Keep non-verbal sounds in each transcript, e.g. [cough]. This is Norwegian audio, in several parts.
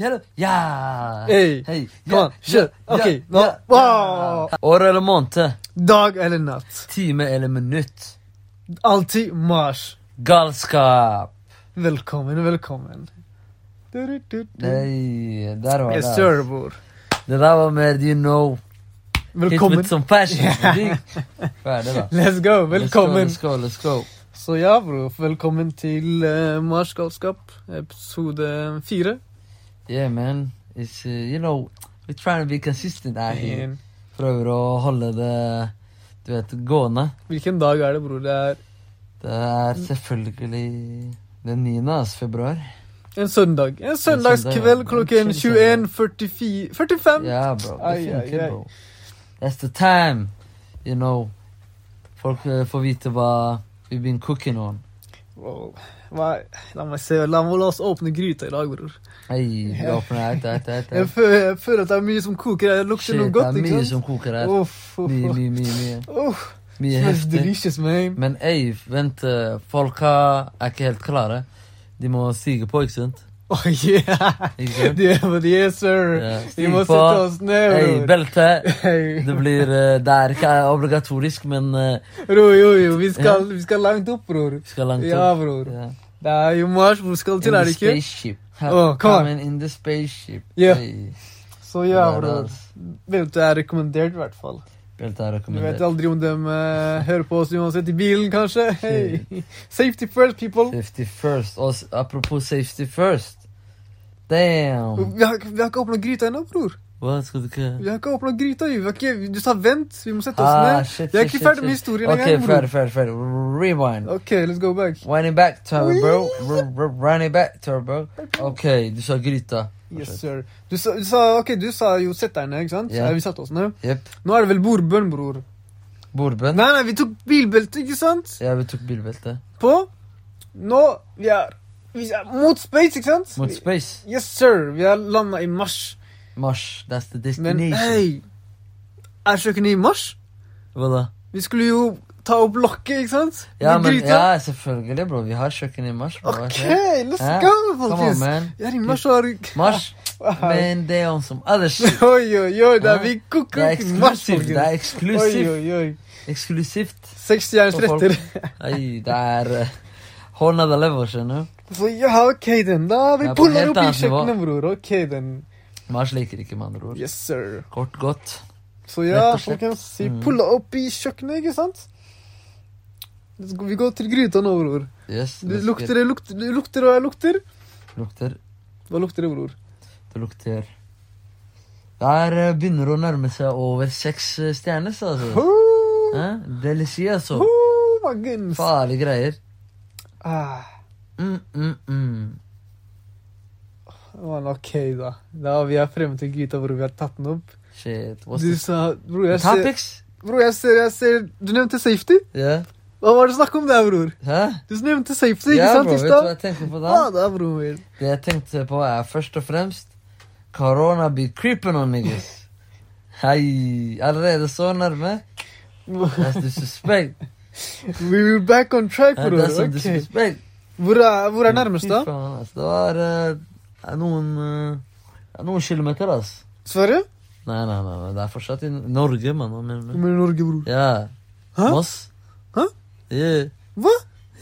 Hello. Ja. Hey. Hey. Kom Ja. on. Shit. Ja. Oké. Ja. Nou, Ja. wow. År eller måned. Dag eller natt. Time eller minutt. Alltid Mars. Galskap. Velkommen, velkommen. Du, du, du, du. Nei, der var Mm. Yes det. sir, bror. Det der var mer you know. Hit Velkommen. with some [laughs] passion. Ja. Digg. Ferdig, da. Let's go. Velkommen. Let's go, let's go. Let's go. Så ja, bror. Velkommen til uh, Mars Galskap, episode fire. Yeah, man. It's, uh, you know, we're trying to be consistent out here. En- Prøver å holde det, du vet, gående. Hvilken dag er det, bror? Det er Det er Mm. selvfølgelig den 9. ass, februar. en søndag. En søndag, ja. søndagskveld klokken En chill søndag. 21.45 45. Yeah, bro. Ai, Det funker, ai, ai. bro. That's the time, you know. Folk eh, får vite hva we've been cooking on. Wow. Hva, la meg se. La, la oss åpne gryta i dag, bror. Hei, vi åpner her, der, [laughs] der, Jeg der. føler, jeg føler at det er mye som koker. her. Det lukter Shit, noe det godt. er ikke mye som sant? koker her. Uff, uff, Mye, uff. mye, mye. mye. Uff, Mye smells heftig. Oh, delicious, man. [laughs] Men ei, vent, eh, folk har, er ikke helt klare. De må stige på, ikke [laughs] sant? Oh, [laughs] yeah. Ikke sant? Det var det, yes, sir. Ja, Vi stig må på. sette oss ned, Ei, bror. belte. Hey. Det blir eh, Det er ikke obligatorisk, men eh, Ro, jo, jo. Vi skal, Ja. vi skal langt opp, bror. vi skal langt opp. Ja, bror. Ja. Det er jo mars. Hvor skal du til, In er the det ikke? spaceship. Åh, kom Come in the spaceship. Ja. Hey. Så ja, Det er det, bror. ass. Vet du, det er rekommendert, i hvert fall. Belte er Du vet rekommendert. aldri om de eh, hører på oss uansett i bilen, kanskje. Hey. Safety first, people. Safety first. Og s- apropos safety first. Damn. Vi har, ikke- vi har ikke åpna gryta ennå, bror. Hva skal du ikke Vi har ikke åpna gryta. Vi har ikke, du sa vent, vi må sette oss Ah, ned. shit, Vi er shit, ikke shit, ferdig med shit. historien Ok, engang, bror. ferdig, ferdig, ferdig. Rewind. Ok, let's go back. Wind it back, turbo. Run it back, turbo. Ok, du sa gryta. Yes, sir. Du sa, du sa, ok, du sa jo sett deg ned, ikke sant? Ja. Ja, vi satte oss ned. Jepp. Nå er det vel bordbønn, bror. Bordbønn. Nei, nei, vi tok bilbelte, ikke sant? Ja, vi tok bilbelte. På. Nå, vi er, vi er mot space, ikke sant? Mot space. Yes, sir. Vi har landa i mars. Mars, that's the Men destination. hei, er kjøkkenet i mars? Hva da? Vi skulle jo ta opp lokket, ikke sant? Ja, Med men, gryta. ja, selvfølgelig, bro. Vi har kjøkken i mars. Bro. Ok, let's Ja, go, Come on, folkens. man. Jeg er i mars og har Mars, Ah, men det er om som other shit. [laughs] Oi, oi, oi, det er Ja. vi Det er koker i mars, eksklusivt. Det er folkens. Oi, eksklusivt. oi, oi. Eksklusivt. 60 jerns Og folk- retter. Oi, det er eh, whole nother level, skjønner du. Så ja, ok, den. Da vi Det er på puller helt opp i annet nivå. kjøkkenet, bror. Ok, den. Mars liker ikke, med andre ord. Yes, sir. Kort godt. Så ja, Rett og slett. folkens. Vi Mm. puller opp i kjøkkenet, ikke sant? Let's go- Vi går til gryta nå, bror. Yes. Det let's lukter, det lukter, det lukter og jeg lukter. get- lukter. Hva lukter det, bror? Det lukter Der eh, begynner det å nærme seg over seks eh, stjerner, så altså. Oh, Eh? Delicioso. oh my goodness. Farlige greier. Ah, Mm, mm, mm. man, ok, da. Da Vi er fremme til gryta hvor vi har tatt den opp. Shit. What's Du this? sa Bror, jeg ser, Topics? bror, jeg ser, jeg ser Du nevnte safety. Ja. Hva var det snakk om der, bror? Hæ? Du nevnte safety, ikke Ja, sant, bro, i vet du hva stad? jeg tenkte på da? Ja da, bror min. Det jeg tenkte på er først og fremst Corona be creeping on niggas. Hei, allerede så nærme. That's disrespect. We were back on track, Ja, bror. Ah, That's some Ok. disrespect. Hvor er, hvor er nærmest, Fy da? faen, ass. Det var eh, er noen eh, er noen kilometer, ass. Sverige? Nei, nei, nei, nei, det er fortsatt i Norge, mann. hva mener Du du? mener Norge, bror. Ja. Hæ? Moss. Hæ? Yeah. Hva?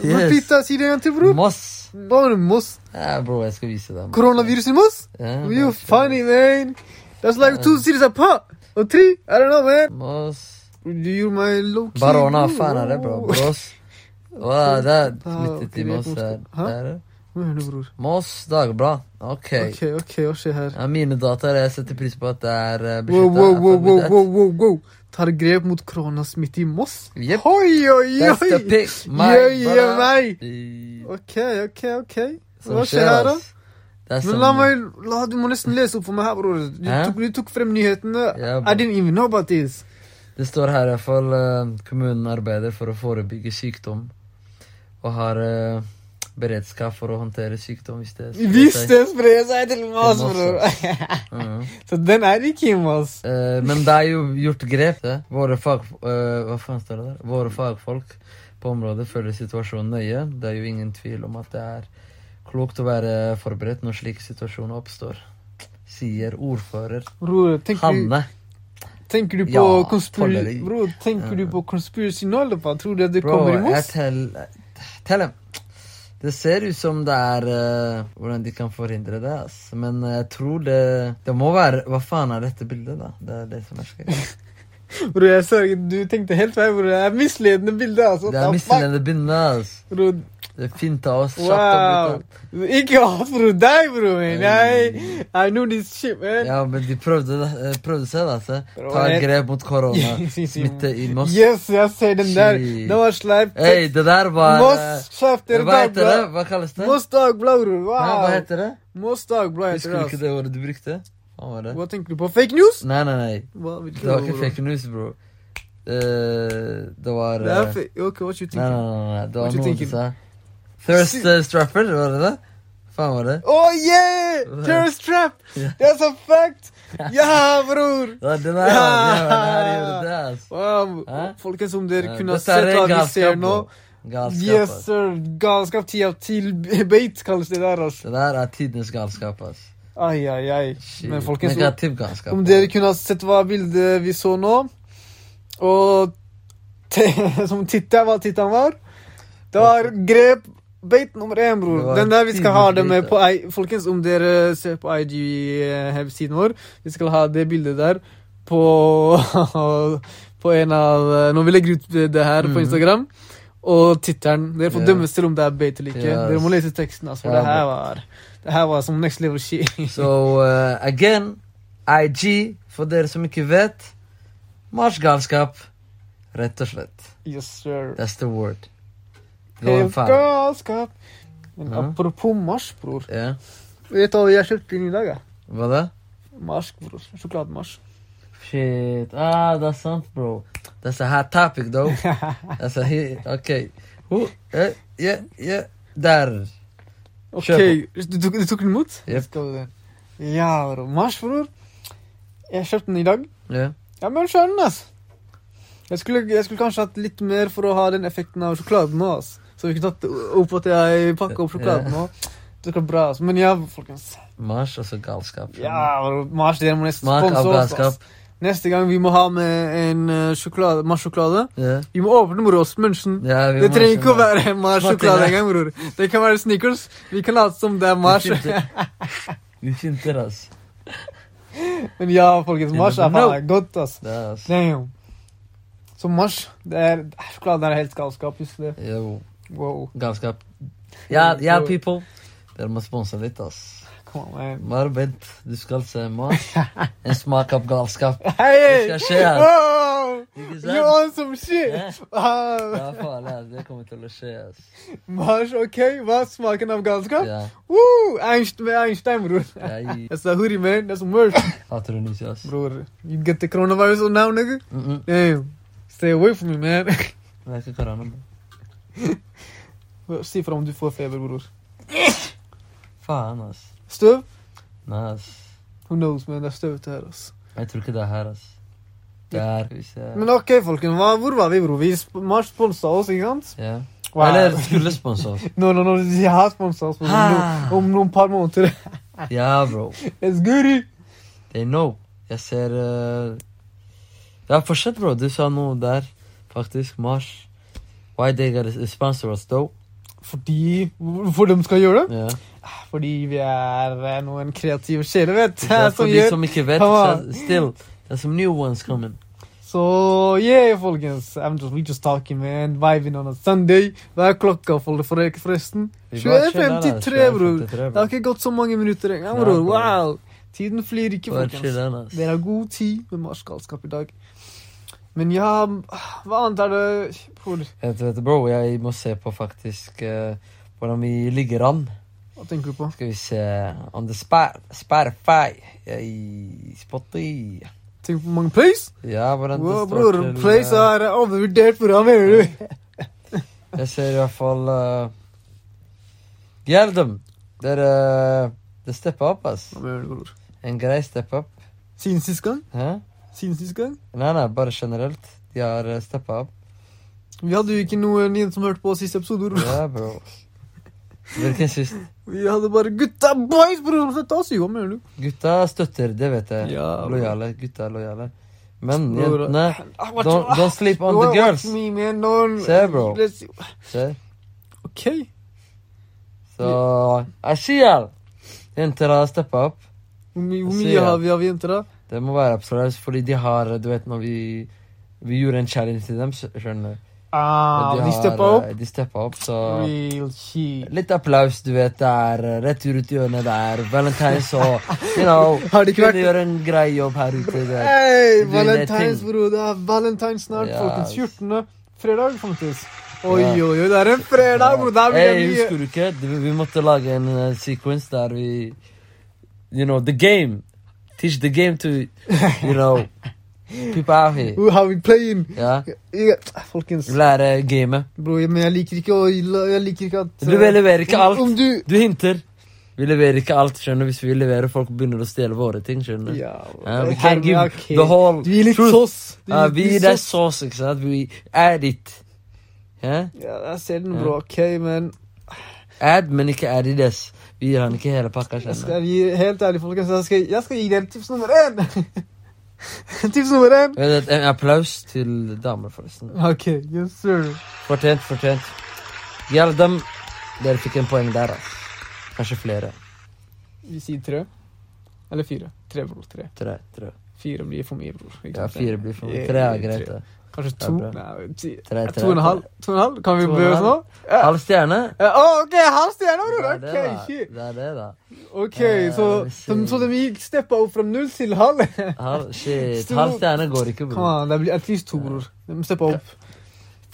Yes. Repeat deg, si det en gang til, bror. Moss. Hva var det, Moss? Ja, bro, jeg skal vise deg. mann. Koronavirus i Moss? Ja, You Moss. funny man. That's like two cities apart. Or three. I don't know man. Moss. You're my low key. Barona, hva faen er det, bro? [laughs] Brås. Hva er det? Smittet i ok, Moss jeg her. forstår. Hæ? Der, ja. Hva er det, bror? Moss Dagblad. Ok. Ok, ok, hva skjer her? Ja, mine dataer, jeg setter pris på at det er eh, Wow, beskyttet. wow, wow, wow, alfabet. wow, wow, wow. Tar grep mot koronasmitte i Moss? Jep. Oi, oi, That's oi. the pic, my Yeah, yeah, brother. mate. I- Ok, ok, ok. som Hva skjer skjer, her, da? ass. Det er Men som- la meg, la, du må nesten lese opp for meg her, bror. Du, Hæ? tok, du tok frem nyhetene. Ja, bro. I didn't even know about this. Det står her i hvert fall eh, kommunen arbeider for å forebygge sykdom. Og har eh, beredskap for å håndtere sykdom hvis det sprer Hvis seg. det sprer seg til Moss, Moss, bror. Mhm. [laughs] Så den er ikke i Moss. Eh, men det er jo gjort grep. Det. Våre, fag, eh, hva faen står det der? Våre fagfolk på området følger situasjonen nøye. Det er jo ingen tvil om at det er klokt å være forberedt når slike situasjoner oppstår. sier ordfører Bror, tenker, du- Hanne. tenker du på Ja, konspir... trolleri. Bror, tenker du på conspiracy nå, eller hva? Tror du at det Bro, kommer imot jeg oss? tell- tell dem. Det ser ut som det er eh, Hvordan de kan forhindre det, ass. Men eh, jeg tror det Det må være Hva faen er dette bildet, da? Det er det som er skrevet. Bror, jeg sverger, du tenkte helt feil, bror. Det er misledende bilde, altså. Det er Ta fuck, misledende binde, ass. bror. Det er fint av oss. Shut up, Wow. gutta. Ikke hat for deg, bror. man. I, I know this shit, man. Ja, men de prøvde, det- eh, prøvde seg, da. Se. Bro, Ta jeg- grep mot [laughs] korona. Si, si. Smitte i Moss. Yes, jeg ser den der. Shit. Den var sleip. Hei, det der var eh, Moss, kjeft, dere Hva heter det? dagblad. Hva kalles det? Moss dagblad, bror. Hæ, hva Wow. heter det? Moss dagblad heter Husker det, du ikke altså. det ordet du brukte? Hva var det? Hva tenker du på? Fake news? Nei, nei, nei. Hva, hvilket Det var ord, ikke bror? fake news, bro. Eh, det var Det er eh, fake. Ok, what you Nei, nei, thinking? nei. nei. Det What var you noe du thinking? sa. Thirst eh, Strapper, var det det? Faen, var det? Oh yeah! Terrorist trap! [laughs] Ja. That's a fact! Ja, bror! Ja, den her, Ja. ja, den her gjorde det, altså. Wow. Hæ? Folkens, om dere Eh, kunne ha dette her sett er hva vi ser galskap, nå bro. Galskap, Yes, ass. sir. Galskap ti av ti. Beit kalles det der, altså. Det der er tidenes galskap, ass. Ai, ai, ai. Shit. Men folkens, Negativ galskap. Om dere kunne ha sett hva bildet vi så nå, og te, [laughs] som titta hva tittelen var Det var grep beit nummer én, Det bror. var Den der vi skal ha det med tidlig på I, Folkens, om dere ser på IG-siden vår, vi skal ha det bildet der på [laughs] På en av Når vi legger ut det her på Mhm. Instagram. Og tittelen. Dere får Ja. dømmes til om det er beit eller ikke. Yes. Dere må lese teksten. altså. Ja, det her var Det her var som next level shit. [laughs] So, eh, again, IG, for dere som ikke vet, marsgalskap, rett og slett. yes, sir. That's the word. Gå en Helt faen. galskap. Men Ja. apropos mars, bror. Ja, Vet du hva jeg kjøpte inn i dag? Ja? hva da? Mars, bror. Sjokolademars. Shit, ah, det er sant, bro. That's a hot topic, [laughs] though. That's a hit, ok. Who- eh, yeah, yeah. Der. Ok, Kjør du, tok- du tok den imot? Jep. Skal du- Ja, bror. Mars, bror. Jeg kjøpte den i dag. Ja. Ja, men skjønn, ass. Jeg skulle, jeg skulle kanskje hatt litt mer for å ha den effekten av sjokoladen nå, ass. Så vi kunne tatt opp at jeg pakket opp sjokoladen nå. Det skal bra, ass. Men ja, folkens. Mars, altså galskap. Ja, bror. Mars, dere må nesten Smak av sponse oss, ass. galskap. Neste gang vi må ha med en eh, sjokolade, Mars-sjokolade. Ja. Vi må åpne Mors-lunsjen. Ja, vi Det må trenger ikke å skjønne. være Mars-sjokolade engang, bror. Det kan være Snickers. Vi kan late som det er [laughs] Mars. Vi finter. Vi finter, ass. Men ja, folkens, You Mars er never faen godt, ass. Det er, ass. Damn. Så Mars det er, Sjokoladen er helt galskap, husk det. Jo. Wow. Galskap. Ja, ja Så- people. Dere må sponse litt, ass. Come on, man. Bare vent. Du skal se Mars. En smak av galskap. Hei! Det skal skje, ass. Wow! Ikke You sant? on some shit! Ja. Det Wow. er farlig, ass. Det kommer til å skje, ass. Mars, OK? Hva er smaken av galskap? Ja. Woo! Einstein, Einstein, bror. [laughs] Jeg That's a hoodie, man. That's some merch. hater hun ikke, ass. bror, you get the coronavirus on now, nigga? Mm -mm. Damn. Stay away from me, man. Det er ikke korona. bro. Si fra om du får feber, bror. Faen, ass. Støv? Nei, ass. Who knows, man. Det er støv ute her, ass. Jeg tror ikke det er her, ass. Det er hvis jeg Men ok, folkens. hva- Hvor var vi, bror? Vi sp- Mars sponsa oss, ikke sant? Ja. Eller skulle sponse [laughs] oss. Nå, nå, nå, de har sponsa oss bror. om, Ah. no, om noen par måneder. [laughs] Ja, bro. It's goody! They know. Jeg ser eh, Ja, fortsett, bro. Du sa noe der, faktisk. Mars. Why they gotta sponsor us, though? Fordi Hvorfor de skal gjøre det? [laughs] Ah, Ja. Fordi vi er eh, noen kreative sjeler, vet du. Det er [laughs] Som for de gjør som ikke vet. Come on. så Still, there's some new ones coming. Så yeah, folkens. I'm just, we just talking, man. Vibing on a Sunday. Hva er klokka, for for- forresten? Vi bare chiller, ass. 21.53, bror. 21.53, Det har ikke gått så mange minutter engang, Nei, bror. bro. Wow! Tiden flyr ikke, Bare folkens. chillen, ass. Dere har god tid med marsgalskap i dag. Men ja Hva annet er det Bror, Vet, vet, du, bro, jeg må se på faktisk eh, hvordan vi ligger an. hva tenker du på? Skal vi se On the spot, Spotify I Spotify Tenker du på mange plays? Ja, hvordan det Wow, står bror, til plays eh, er overvurdert, bror. Hva mener du? Jeg ser i hvert fall uh, Gjerdum Dere Det stepper opp, ass Hva mener du, bror? En grei step up Siden sist gang? Hæ? Siden sist gang? Nei, nei, bare generelt De har uh, steppet opp Vi hadde jo ikke noen igjen som hørte på siste episode, bror. Ja, bro Hvilken kyst? Vi hadde bare 'gutta boys', bror! Som støtta oss, jo, hva mener du? Gutta støtter, det vet jeg. Ja. Lojale. Gutta er lojale. Men Bror. jentene Ah, what Don't, you- don't sleep on You the wanna girls. watch Me, man, no, Se, bro. Let's- Se. Ok. Så Ashiel! Jenter har steppa opp. Hvor mye, hvor Jeg mye ser. har vi av jenter, da? Det må være absolutt, fordi de har Du vet når vi Vi gjorde en challenge til dem, skj- skjønner du. Ah, Og de har, steppa opp. eh, De steppa opp, så Real shit. Litt applaus, du vet. Det er eh, rett rundt hjørnet. Det er valentines og You know. [laughs] Har det ikke vært- Kunne Eh, gjøre en grei jobb her ute. Du vet. Hey, det er valentines, ting. bro. Det er valentines snart, Ja. folkens. 14. fredag, faktisk. Oi, Ja. oi, oi, det er en fredag, bro. Det er Hey, mye. husker du ikke? Du- Vi måtte lage en eh, sequence der vi You know, the game. Teach the game to You [laughs] know people out here. Ooh, how we playing? Ja. Jeg- Folkens, Lære gamet. bro, jeg- men jeg liker ikke å Jeg liker ikke at eh, Du leverer ikke alt. Om, om du Du hinter. Vi leverer ikke alt, skjønner du. Hvis vi leverer, folk begynner å stjele våre ting, skjønner du. Ja, Ja, we herregud, can't give ok. the whole Du gir litt truth. sås. Du Ja, gir vi litt det er sås. sås, ikke sant? Vi add it. Ja? Ja, jeg ser den, Ja. bro. Ok, men Add, men ikke add it ass. Vi gir han ikke hele pakka, jeg skjønner du. skal gi, helt ærlig, folkens, jeg skal, jeg skal gi dere tips nummer én. [laughs] tips nummer én. Vet du, En applaus til damer, forresten. Ok, yes sir. Fortjent, fortjent. Gjelder dem. Dere fikk en poeng der, ass. Kanskje flere. Vi sier tre. Eller fire. Tre, bror. Tre. Tre, tre. Fire blir for mye, bror. Ikke Ja, sant? fire blir for mye. Ja, Tre er tre. greit, det. Kanskje Ja, to? bra. Nei, ti. Tre, Ja, tre. to og en halv. To og en halv? Kan vi To og en bøye oss nå? halv. Halv stjerne? Ja, å, ok, halv stjerne, Det bror! er det, Ok, da. shit. Det er det, da. Ok, Eh, så, vi så, ser. så de gikk steppa opp fra null til [laughs] halv? Halv, shit. Stor- Halv stjerne går ikke, Come bror. on, det blir at least to, bror. De steppa opp.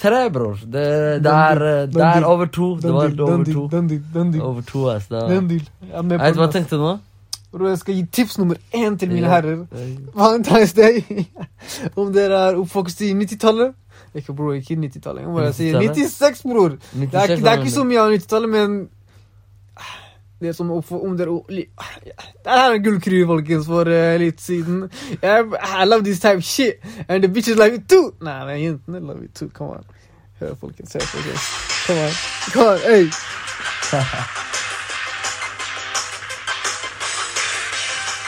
Tre, bror. Det, Den det, er, eh, deal, det den er deal, over to. Det Den var deal, den over deal, to. den deal, den deal. Over to, altså. ass. Da. Den deal. Jeg er med Jeg vet på hva den. tenkte du nå? Bror, jeg skal gi tips nummer én til mine Ja. herrer. Valentine's Day. Om dere er oppvokst i 90-tallet. Ikke bror, ikke 90-tallet. Jeg må bare si 90-tallet? 96, bror. Det er, ikke- det er ikke så mye. mye av 90-tallet, men det er som oppfor, om dere li- Det her er en gullkry, folkens, for eh, litt siden. Jeg, I love this type shit. And the bitches love it too. Nei, men jentene love it too. Come on. Hør, folkens. Hør, folkens. Come on. Come on, hey.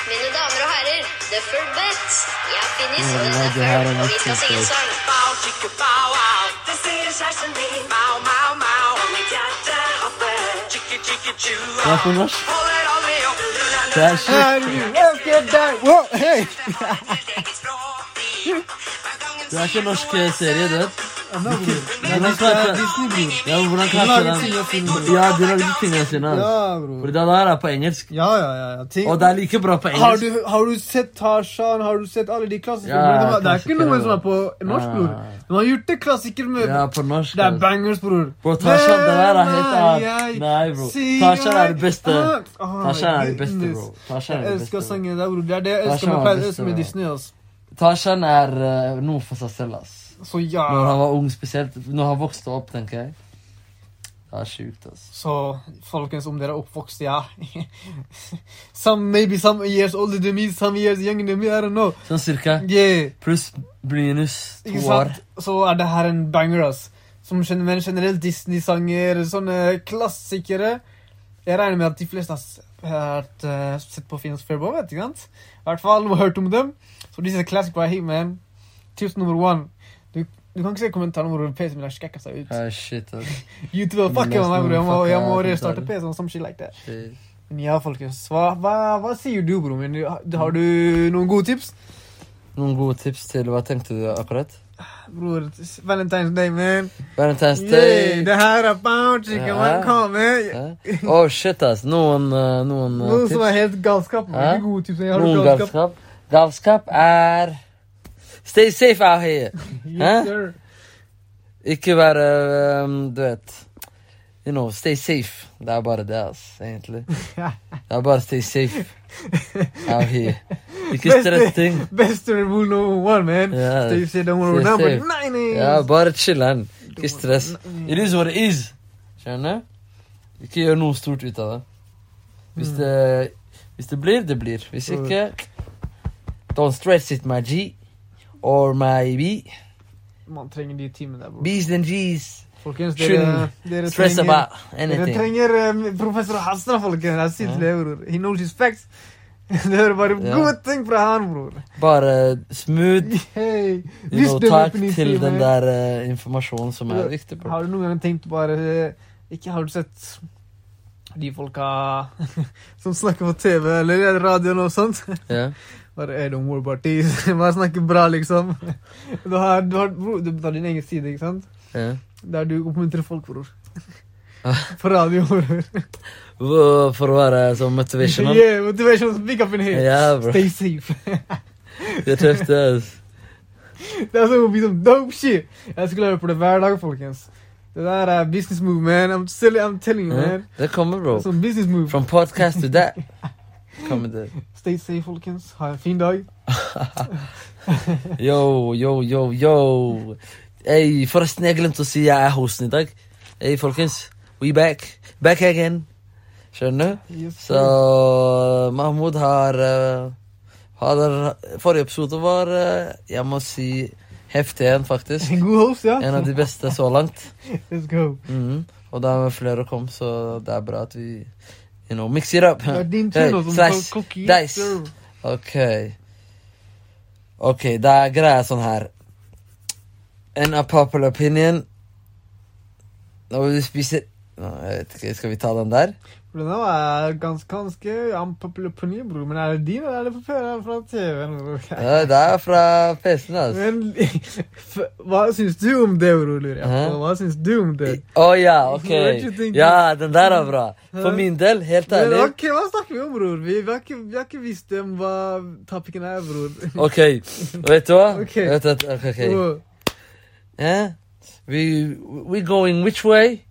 Mine damer og herrer, The Furbet. Jeg er Finnis, og Ja, denne er det her er Ferb, og vi skal morsomt, synge en det. sang. Bow, chicka, bow, wow. This is kjæresten min. Bow, wow, wow. Og mitt hjerte hopper. Chicka, chicka, Det chua. er på norsk. Holder aldri opp. Det er shit. Herregud, elsker deg. Wow, hey. Det er ikke en norsk eh, serie, det. Nei, Hvordan det er klarte Disney, bror. Ja, men hvordan De klarte lager den? sine film, bror. Ja, de lagde tingene sine. ass. Ja, bror. Fordi det der er på engelsk. Ja, ja, ja. ja. Ting. Og det er like bra på Har engelsk. du, har du sett Tarzan? Har du sett alle de Ja, klassikerfilmene? det er ikke klassikere, noe som er på bror. norsk, Ja. bror. De har gjort det klassiker med Ja, på norsk. altså. Det er ass. bangers, bror. Bro, Tarzan, det der er helt Hvem er annet. jeg? Nei, bro. Sier Tarzan er det jeg- beste. Ah, ah, Tarzan er det beste, goodness. bro. Tarzan Jeg er det elsker beste. sangen der, bror. Det er det jeg elsker Tarzan med, var det jeg beste, elsker med bro. Disney. altså. ass. Tarzan er eh, noe for seg selv, ass. Så Når ja. han var ung spesielt. Når han vokste opp, tenker jeg. Det er sjukt, ass. Så folkens, om dere er oppvokst, ja [laughs] Some maybe some years older than me, some years younger than me, I don't know. Sånn cirka. Yeah. Pluss minus to Ikke år. sant? Så er det her en banger, ass. Som gen- men generelt Disney-sanger, sånne klassikere. Jeg regner med at de fleste har s- hørt, eh, sett på Finns Fairbow, vet du ikke sant? I hvert fall har hørt om dem. Så disse classic right here, man. Tips nummer one. Du, du kan ikke se kommentarene hvor PC-en min har skrekka seg ut. Ah, shit, ass. YouTube er fucking med meg, bro. Jeg må, jeg må restarte Fuck, PC-en og sånn shit like that. Shit. Men ja, folkens. Hva, hva, hva sier du, bro min? Har du noen gode tips? Noen gode tips til Hva tenkte du akkurat? Bror, Valentine's Day, man. Valentine's Yay, Day. det her er bounty, kan man Ja. komme? Hæ? Oh shit, ass. Noen, eh, noen eh, Noe eh? som er tips. helt galskap. Hæ? Ikke gode tips, jeg har Noen galskap. galskap. Galskap er Stay safe out here. Hæ? Yes, sir. Ikke være ehm, Du vet. You know, stay safe. Det er bare det, ass, [laughs] egentlig. Det er bare stay safe out here. Ikke stress ting. [laughs] Best rule number one, man. Ja. Stay safe, don't Stay worry number safe. nine. Ja, bare chiller'n. Ikke stress. It is what it is. Skjønner? Ikke gjør noe stort ut av det. Hvis det, hvis det blir, det blir. Hvis Mm. ikke Don't stress it, my G. Or my B. Man trenger de timene der, bror. B's and G's. Folkens, dere, Shouldn't dere stress trenger, about dere anything. trenger eh, professor Hassan, folkens. Han sitter Ja. der, bror. He knows his facts. [laughs] Dere hører bare Ja. gode ting fra han, bror. [laughs] Bare smooth. Hey, You know, wisdom takk opening til den time. der eh, informasjonen som er viktig. bro. Har du noen gang tenkt bare eh, Ikke har du sett de folka [laughs] som snakker på TV eller radioen og sånt? [laughs] Ja. Bare hey, don't worry about this. [laughs] Bare snakke bra, liksom. [laughs] Du har, du har, bro, du har din egen side, ikke sant? Ja. Der du oppmuntrer folk, bror. Ah. [laughs] På radio, bror. Hvor- For å være så [laughs] motivational. Yeah, motivation big up in here. Ja, bro. Stay safe. [laughs] Det er tøft, det. ass. Det er sånn liksom dope shit. Jeg skulle høre på det hver dag, folkens. Det der er business move, man. I'm, still, I'm telling you, Ja, man. Det kommer, bro. Sånn business move. From podcast to that. Kommer det. Stay safe, folkens. Ha en fin dag. Yo, yo, yo, yo. Hey, forresten, jeg glemte å si jeg er hosten i dag. Hey, folkens. We back. Back again. Skjønner du? Yes, Så Mahmoud har, eh, har Forrige episode var eh, Jeg må si heftig en, faktisk. En god host, ja. En av de beste så langt. [laughs] Let's go. Mhm. Og da er flere kom, så det er bra at vi you know, mix it up. Det er din tur Hey, nå som slice, skal koke dice. jenter. Ok. Ok, det er greia sånn her. En unpopular opinion Når vi spiser Nå, jeg vet ikke, Skal vi ta den der? For Den er ganske, ganske unpopular på ny, bror. Men er det din, eller er det på- er det fra TV-en? bror? Ja, Det er fra PC-en, altså. [laughs] Men [laughs] f- hva syns du om det, bror? lurer jeg Hæ? på? Hva syns du om det? Å ja, ok. What you thinking? Ja, den der er bra. For min del, helt Men, ærlig. ok, Hva snakker vi om, bror? Vi, vi, har ikke, vi har ikke visst om hva topicen er, bror. Ok, vet du hva? Ok. Vet du, hva? ok, ok. Og- Eh? We, we going which way?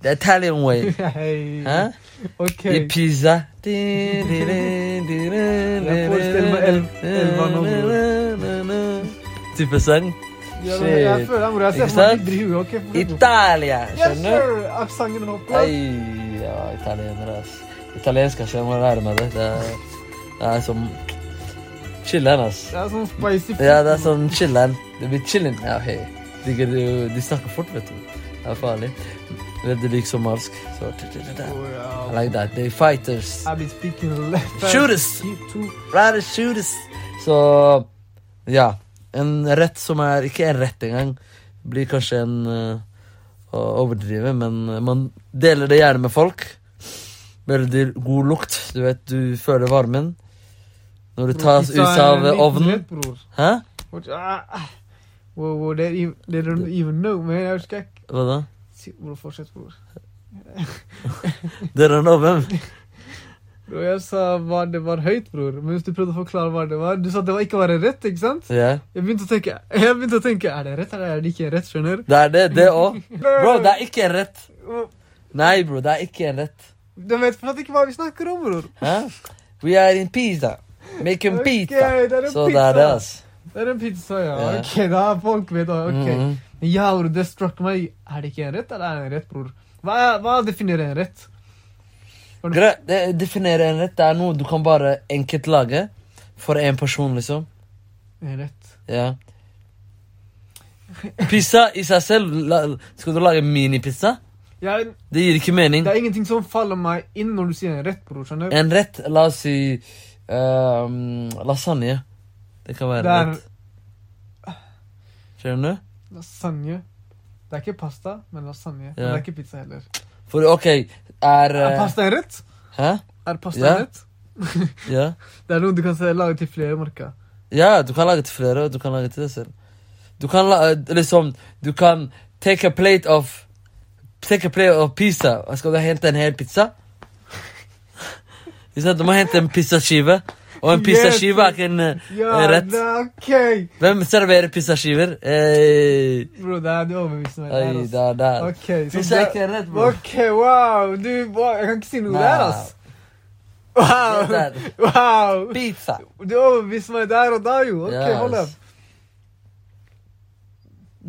The Italian [laughs] way. [laughs] Hei. Hæ? Ok. I pizza. Jeg forestiller meg elv- elva nå, Type sang. Ja, men Jeg Shit. føler det, bror. Jeg ser Ikke for meg sant? de driver. Ok, for- Italia, Yes, skjønner du? sir! Aksenten hopper. Ei, ja, italienere, ass. Italiensk, ass. Jeg må lære meg det. Det er, det er som Chiller'n, ass. Det er sånn spicy food. Ja, det er sånn chillen. Det blir chillen. Ja, hei. Digger du De snakker fort, vet du. Det er farlig. Veldig lik somalisk. Så I Oh, ja. like that. They fighters. I've been speaking left Shooters. You too. Rather shooters. Så Ja. En rett som er Ikke en rett engang. Blir kanskje en eh, Å overdrive, men eh, man deler det gjerne med folk. Veldig god lukt. Du vet, du føler varmen. Når du tas ut Pizza er av eh, liten ovnen. rett, bror. Hæ? What- ah, ah. Wow, wow, they, don't even- they don't even know, man. Jeg husker ikke. Hva da? Si- Bror, fortsett, bror. Dere er nå hvem? Bror, jeg sa hva det var høyt, bror. Men hvis du prøvde å forklare hva det var Du sa det var ikke var det rett, ikke sant? Ja. Jeg begynte å tenke, [laughs] jeg begynte å tenke er det rett eller er det ikke rett, skjønner? Det er det, det òg. Bro, det er ikke en rett. Nei, bro, det er ikke en rett. De vet fortsatt ikke hva vi snakker om, bror. Hæ? We are in pizza. Making Ok, pizza. det er en Så det pizza. er det, altså. Det er en pizza, ja. Ja. Ok, da er folk med, da. Ok. Mhm. Men ja, bror, det struck meg. Er det ikke en rett, eller er det en rett, bror? Hva, er- hva definerer en rett? Gre- det- Definere en rett. Det er noe du kan bare enkelt lage for én person, liksom. En rett. Ja. Pizza i seg selv la, Skal du lage minipizza? Jeg, Det gir ikke mening. det er ingenting som faller meg inn når du sier en rett, bror. skjønner du? En rett, la oss si ehm, lasagne. Det kan være Det er- en rett. Skjønner du? Lasagne. Det er ikke pasta, men lasagne. Men Ja. det er ikke pizza heller. For ok, er Er eh, pasta en rett? Hæ? Er pasta Ja. en rett? Ja. Det er noe du kan se- lage til flere marker. ja, du kan lage til flere, og du kan lage til deg selv. Du kan la, eh, liksom Du kan take a plate of Take a plate of pizza. Og Skal du hente en hel pizza? Ikke sant? Du må hente en pizzaskive. Og en Yes. pizzaskive er ikke en, eh, Ja, en rett. det er ok! Hvem serverer pizzaskiver? Eh, Bro, det er du overbeviser meg. Oi, der, ass. der, der. Ok, så Pizza er det- ikke en rett, bror. Ok, wow! Du, wow, jeg kan ikke si noe Nei. der, ass. Det Wow! der. Wow! Pizza. Du overbeviste meg der og da, jo. Ok, Yes. hold opp.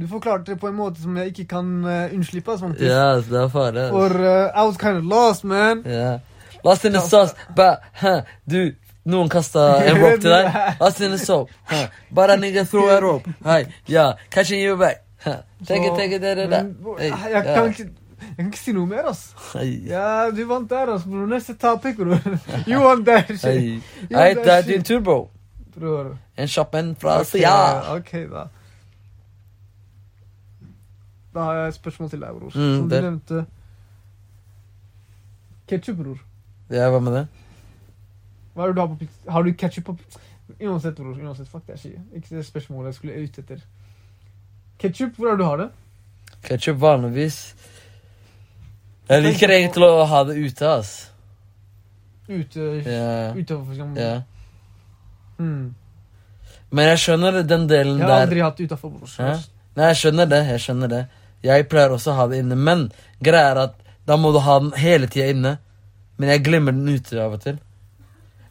Du forklarte det på en måte som jeg ikke kan eh, unnslippe. ass, faktisk. Ja, yes, det er altså. farlig. ass. Or uh, I was kind of lost, man. Ja. Lost in the sauce, but huh, du, noen kasta en [laughs] rope til deg. Lost in the soap, huh, but a nigga threw a rope. Hi, yeah, catching you back. Take it, take it, da, da, da. Men, Hey, Jeg ja. kan ikke jeg kan ikke si noe mer, ass. Hey. Ja, du vant der, ass, bror. Neste topic, bror. [laughs] You won that shit, Hey. Ja, Hey, det er det er din Altså, sykt. tur, bro. bror. En kjapp en fra Ok, Sia. OK, da. Da har jeg et spørsmål til deg, bror. Mm, Som du det- nevnte. Ketchup, bror. Ja, hva med det? Hva er det du har på pizza? Har du ketchup på pizza? Uansett, bror. Uansett, fuck det er ikke, ikke det spørsmålet jeg skulle ut etter. Ketchup, hvor er det du har det? Ketchup vanligvis. Jeg liker egentlig å ha det ute, ass. Ute, Ja. utover, for eksempel. ja. Hmm. Men jeg skjønner den delen Jeg har der. aldri hatt det utenfor, bror. Hæ? Nei, jeg skjønner det. Jeg skjønner det. Jeg pleier også å ha det inne, men greia er at da må du ha den hele tida inne. Men jeg glemmer den ute av og til.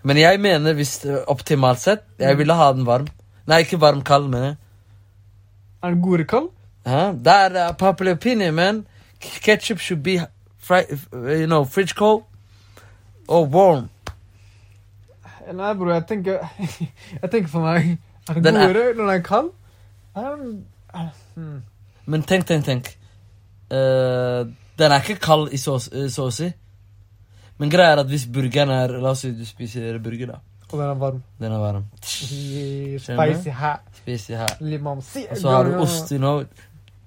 Men jeg mener, hvis eh, optimalt sett, jeg ville ha den varm. Nei, ikke varm, kald, mener jeg. Er den god eller kald? Hæ? That uh, popular opinion, man. K- Ketchup should be fri uh, you know, fridge cold or warm. Nei, bror, jeg tenker [laughs] Jeg tenker for meg Er den, Den er- godere når den er kald? Er den er- hmm. Men tenk, tenk, tenk. Eh, den er ikke kald i så, eh, så å si. Men greia er at hvis burgeren er La oss si du spiser burger, da. Og den er varm. Den er varm. Spicy hat. Spiser her. Limam. Si- Og så har du ost, you know.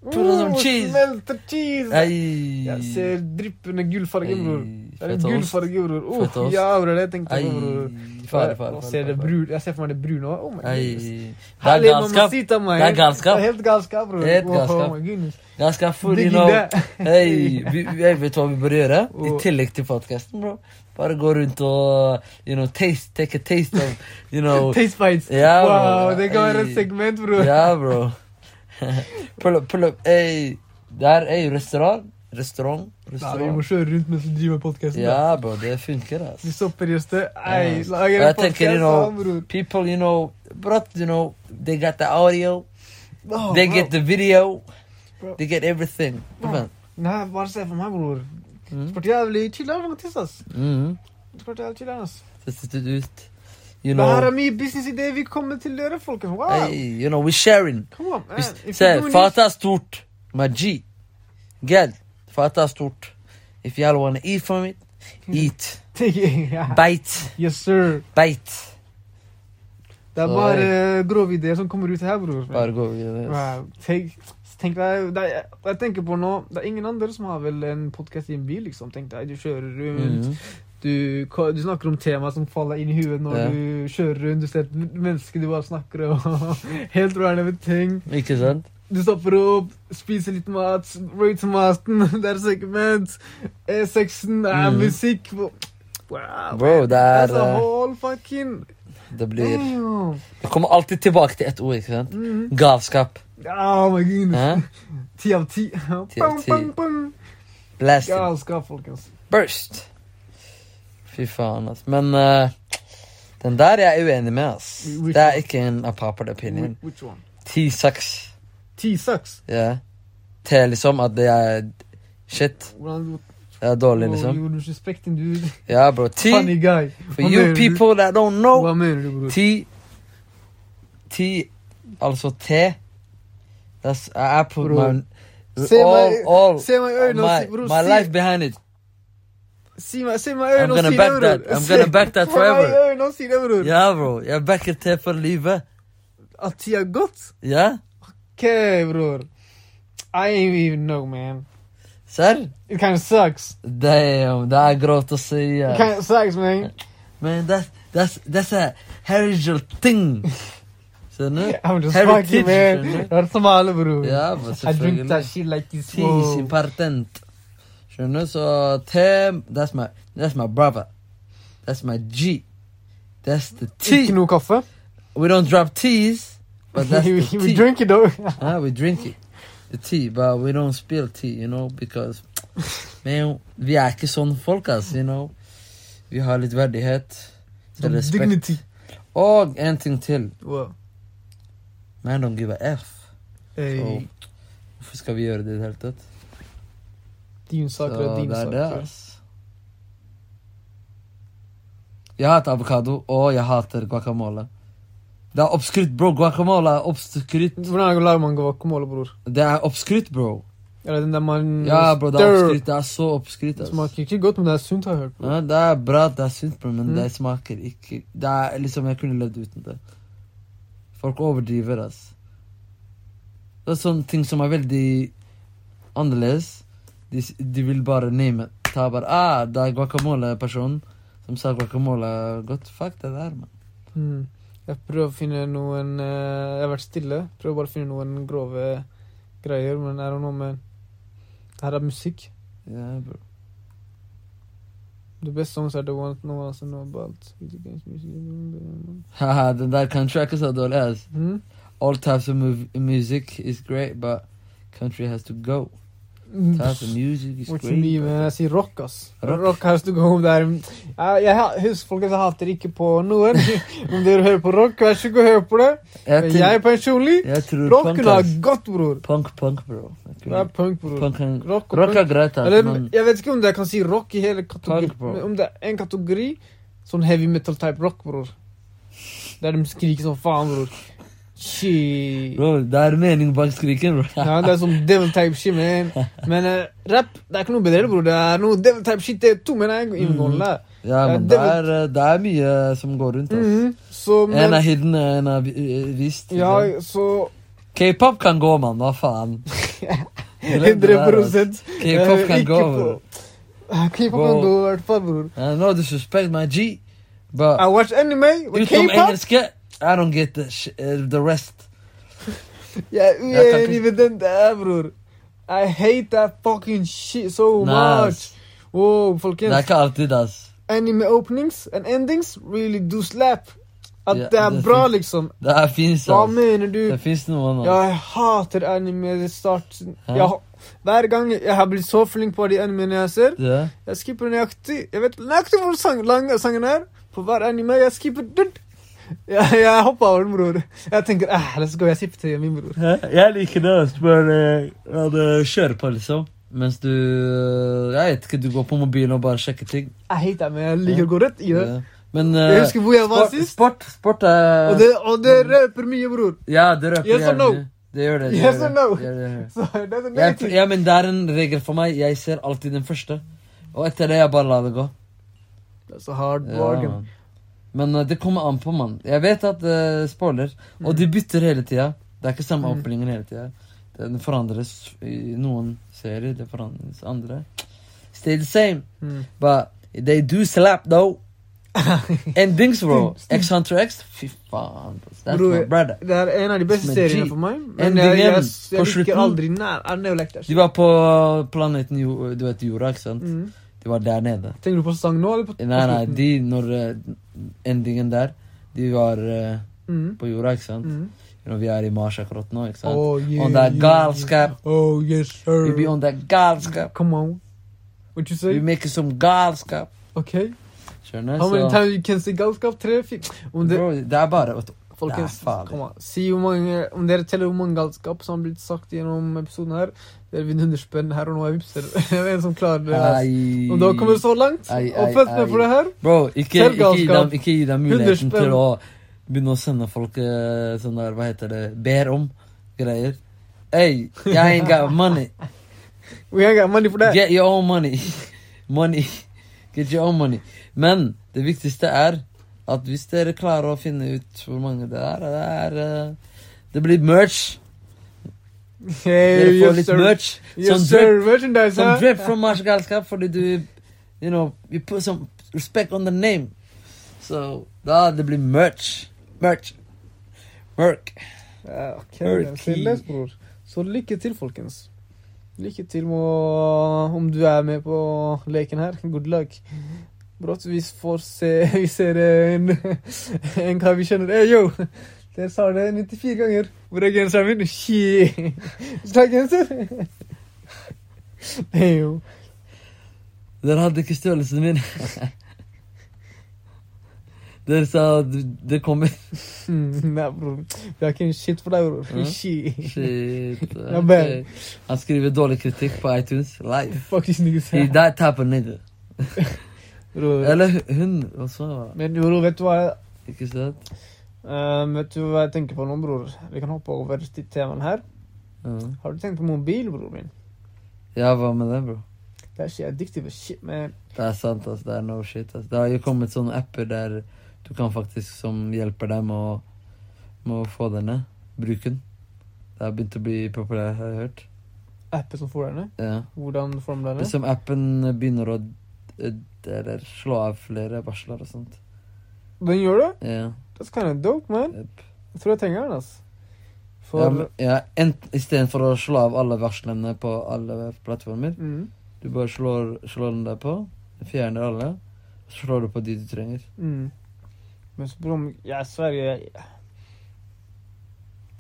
Put on some Oh, cheese. Smelter cheese. Ei. Jeg ser dryppende gullfarge, bror. Ei, Det er fett ost. gullfarge, bror. Oh, Fett ost. ja, bror, det tenkte Ei. jeg på, bror. Fare, fare, Og fare, ser det fare. brun- Jeg ser for meg det brune òg. Oh my goodness. Ei. Det er Herlig galskap. mamacita, man. Det er galskap. Det er Helt galskap, bror. Helt Wow, galskap. Oh my goodness. Ganske full, you Digg know. det. [laughs] Hey, vi, vi- jeg vet hva vi bør gjøre? I Og- tillegg til podcasten, bro. Bare gå rundt og you know, taste, take a taste of you know, [laughs] Taste bites. Ja, wow, bror. det kan være Ei. et segment, bror. Ja, bro. pull up, pull up. Hey, der er jo restaurant. Restaurant. Nei, vi må restaurant. kjøre rundt mens vi driver med podkasten. Ja, bro, det funker, ass. Vi stopper just det. Ei, Yes. lager Jeg en tenker, you podkast know, sammen, bror. People, you know, bro, you know, they got the audio, Åh, they Oh, wow. get the video, Bro. they get everything. Kom igjen. Nei, bare se for meg, bror. Mm. Sport jævlig chiller'n, faktisk, ass. Mhm. Sport jævlig chiller'n, ass. Så sitter du ut. You Det her know, er mye businessidéer vi kommer til dere, folkens. Wow. hey, you know, we're sharing. Come on, man. Hvis, If se, you do [laughs] fata er stort. Maji. Geld. Fata er stort. If y'all wanna eat from it, Mm. eat. need- Ja. Bite. Yes, sir. Bite. Det er Så- bare eh, grove ideer som kommer ut her, bror. Bare gå videre. Wow. Tenk, tenk deg, det er, jeg tenker på nå, det er ingen andre som har vel en podkast i en bil, liksom. Tenk deg, du kjører rundt. Mhm. du, ko- du snakker om temaer som faller inn i huet når Ja. du kjører rundt. Du ser et menneske du bare snakker om. [laughs] Helt random ting. Ikke sant? Du stopper opp, spiser litt mat, røyter maten. [laughs] Det er segment. E6-en det er Mhm. musikk. Wow, man. Bro, det er, That's a eh, whole fucking Det blir Damn. Det kommer alltid tilbake til ett ord, ikke sant? Mhm. Galskap. Oh my goodness. [laughs] Hæ? Ti av ti. Ti av Bang, ti. bang, bang. Blasting. Galskap, folkens. Burst. Fy faen, ass. Men eh, den der er jeg uenig med, ass. Which Det er one? ikke en apapad opinion. Wh- Which one? Ti saks. Ti sucks. Ja. Til liksom at det er shit. Hvordan Oh, Det er dårlig, liksom. You're disrespecting dude. Ja, bro. Ti Funny guy. For Hva you mener du? people that don't know Hva mener du, bror? Ti Ti Altså te That's I, I put Bror. my Se all, meg- all, se meg i øynene og my, si- bror, my si- life behind it Si meg, se meg i I'm øynene og gonna si det, back bror. that. I'm gonna back that forever. Se meg i øynene og si det, bror. Ja bro, jeg backer te for livet At tida har gått. Ja, Ok, bror. I ain't even know, man. serr? It kind of sucks. Damn, det er grovt å si It ja. kind of sucks, man. [laughs] Man, that's, that's, that's a heritage [laughs] thing Skjønner? I'm just Heritage, fucking, man. skjønner. Det er som alle, bror. Ja, bro, I drink selvfølgelig that shit like this, Ti sin wow. patent Skjønner? Så te That's my, that's my brother That's my G That's the T Ikke noe kaffe. We don't drop T's, but that's the tea. [laughs] We drink it, though. Ah, we drink it. The tea, but we don't spill tea, you know, [laughs] because Man, vi er ikke sånn folk, ass, you know. Vi har litt verdighet. [laughs] så Respekt. Dignity. Og en ting til. Wow. Man don't give a F. Hey, Så hvorfor skal vi gjøre det i det hele tatt? din Så sak er din det er det, sak. ass. Jeg hater avokado, og jeg hater guacamole. Det er obskrutt, bro. Guacamole er obskrutt. Hvordan lager man guacamole, bror? Det er obskrutt, bro. Eller den der man Ja, bro, det er stir. obskrutt. Det er så obskrutt, ass. Smaker ikke godt, men det er sunt, har jeg hørt. Ja, det er bra, det er sunt, bro, men Mm. det smaker ikke Det er liksom Jeg kunne levd uten det. Folk overdriver, ass. Det er sånne ting som er veldig annerledes. De, s- de vil bare name it. Ta bare ah, det er guacamole-personen som sa guacamole er godt. Fuck det der, mann. Mm. Jeg prøver å finne noen eh, Jeg har vært stille. Prøver bare å finne noen grove greier, men er det noe med Det her er musikk. Ja, bro. The best songs are the ones no one else know about. Video games, music Hmm? mm. Haha, den der country er ikke så dårlig, ass. All types of mov- music is great, but country has to go. Types of music is What you great. mean, but- men jeg sier rock, ass. Rock. Rock, has to go home. Det er jeg, jeg, ha- Husk, folkens, jeg hater ikke på noen. [laughs] Om dere hører på rock, vær så god, hør på det. Jeg Men tenk- jeg personlig Jeg tror Rock punk, kunne ha ass. godt, bror. Punk, punk, bro. Jeg Det er kunne- punk, bror. Punk, er- Rock og rock er punk. greit, ass, Eller, men jeg vet ikke om jeg kan si rock i hele kategorien. Punk, bro. men Om det er en kategori sånn heavy metal type rock, bror. Der de skriker som faen, bror. Shit. Bro, det er mening bak skriken, bro. [laughs] Ja, det er sånn devil type shit, man. Men eh, rap, det er ikke noe bedre, bror. Det er noe devil type shit, eh, det er to, mener jeg. Inngående. Ja, men det det er, vet- eh, det er mye som går rundt, ass. Mhm, Så, En er men hidden, en er vi- eh, vist. Ja, liksom. så K-pop kan gå, mann. Hva [laughs] faen? Glem det der, 100 ass. Eh, K-pop kan gå, bro. K-pop Bro. kan gå, i hvert fall, bror. Uh, No disrespect, my G. But I Ah, watch anime with utenom K-pop. engelske, I don't get the, sh eh, the rest. Jeg er Jeg kan uenig med den der, bror. I hate that fucking shit so Nei, much. ass. Wow, Det er folkens. ikke alltid, ass. Anime openings and endings really do slap. At Ja, det er det bra, finnes. liksom. Det er fins, Hva ass. mener du? Det fins noen, ass. Jeg hater anime i starten. Hæ? Jeg, hver gang jeg har blitt så flink på de animene jeg ser, Ja. jeg skipper nøyaktig Jeg vet nøyaktig hvor sang, lang sangen er. På hver anime jeg skipper dutt. Jeg, jeg hopper over den, bror. Jeg tenker eh, let's go, jeg skipper til min bror. Hæ? Jeg liker det, ass, men eh, ja, det kjører på, liksom. Mens du eh, Jeg vet ikke, du går på mobilen og bare sjekker ting. Jeg hater det, men jeg liker å gå rett i det. Ja. Men eh, Jeg husker hvor jeg var sport, eh, sist. sport, sport er Og det, og det røper mye, bror. Ja, det røper Yes or jævlig. no? Det gjør det. det Yes gjør or det. no? Det gjør det, det gjør det. Så det er så Jeg, negativt. ja, men det er en regel for meg. Jeg ser alltid den første. Og etter det jeg bare lar det gå. Det er så hard Ja, bargain. mann. men eh, det kommer an på, mann. Jeg vet at uh, spoiler. Og de bytter hele tida. Det er ikke samme Mm. åpningen hele tida. Den forandres i noen serier, det forandres andre. Still the same. Mm. But they do slap though. Endings, bro. X Hunter X. Fy faen. bro. That's Bror, my brother. [laughs] Det er en av de beste Men seriene G- for meg. Men jeg, Endingen jeg, på jeg liker slutten. aldri nær I never liked that De shit. var på planeten jo, du vet, jorda, ikke sant? Mm. De var der nede. Tenker du på sang nå, eller på, på Nei, nei, slutten? de, når eh, endingen der De var eh, Mm. på jorda, ikke sant? Mm. Når vi er i Mars akkurat nå, ikke sant? Oh, yeah, on that yeah, galskap. yeah. Oh, yes, sir. We be on that galskap. Come on. What you We say? making some galskap. Okay. Skjønner? How many Så times you can say galskap? Tre, fire Om det, bro, det er bare å folkens, Nei, fader. kom an. Si hvor mange, om dere teller hvor mange galskap som har blitt sagt gjennom episoden her, dere vinner 100 spenn her og nå. Jeg vipser. [laughs] Jeg er en som klarer det. ass. Ai. Om du har kommet så langt, Ei, ei, og følg med ei. på det her Bro, ikke, Selv ikke, gi galskap. dem, ikke gi dem 100 muligheten spenn. til å begynne å sende folk eh, sånn der, hva heter det, ber om greier. Hey, I ain't got money. We ain't got money for that. Get your own money. [laughs] Money. Get your own money. Men det viktigste er at hvis dere klarer å finne ut hvor mange det er, det er eh, Det blir merch. Hey, Dere får yes, litt sir. merch. Sånn Som Yes, sir. drip, Merchandise, som hæ? drip from Mars Galskap, fordi du You know, you put some respect on the name. So da det blir merch. Merch. Merk. Ja, ok, Merky. men seriøst, bror. Så lykke til, folkens. Lykke til med å- om du er med på leken her. Good luck. Brått vi får se Vi ser en, en kar vi kjenner. Hey, yo! Dere sa det 94 ganger. Hvor er genseren min? Shit! Ta genser! Hey, yo. Dere hadde ikke størrelsen min. [laughs] dere sa at det kommer Mm, [laughs] Nei, bror. Vi har ikke en shit for deg, bror. Ja. [laughs] Shit. Shit. [laughs] Ja, men. ok. Han skriver dårlig kritikk på iTunes live. Fuck these niggas. He that type of nigga. Bror. Eller hun også. Men bror, vet du hva? Ikke sant? Ehm, vet du hva jeg tenker på nå, bror? Vi kan hoppe over til temaet her. Mm. Har du tenkt på mobil, bror min? Ja, hva med det, bro? Det er så addictive shit, man. Det er sant, ass. Det er no shit, ass. Det har jo kommet sånne apper der du kan faktisk som hjelper deg med å, med å få denne bruken. Det har begynt å bli populært, har jeg hørt. Apper som får denne. Ja. Hvordan former den det? Liksom appen begynner å d- eller slå av flere varsler og sånt. Den gjør det? Ja. That's kind of dope, man. Yep. Jeg tror jeg trenger den, altså. For ja, men, ja ent, Istedenfor å slå av alle varslene på alle plattformer, mm, du bare slår, slår den der på, fjerner alle, så slår du på de du trenger. mm. Men så, bror, jeg er Sverige jeg...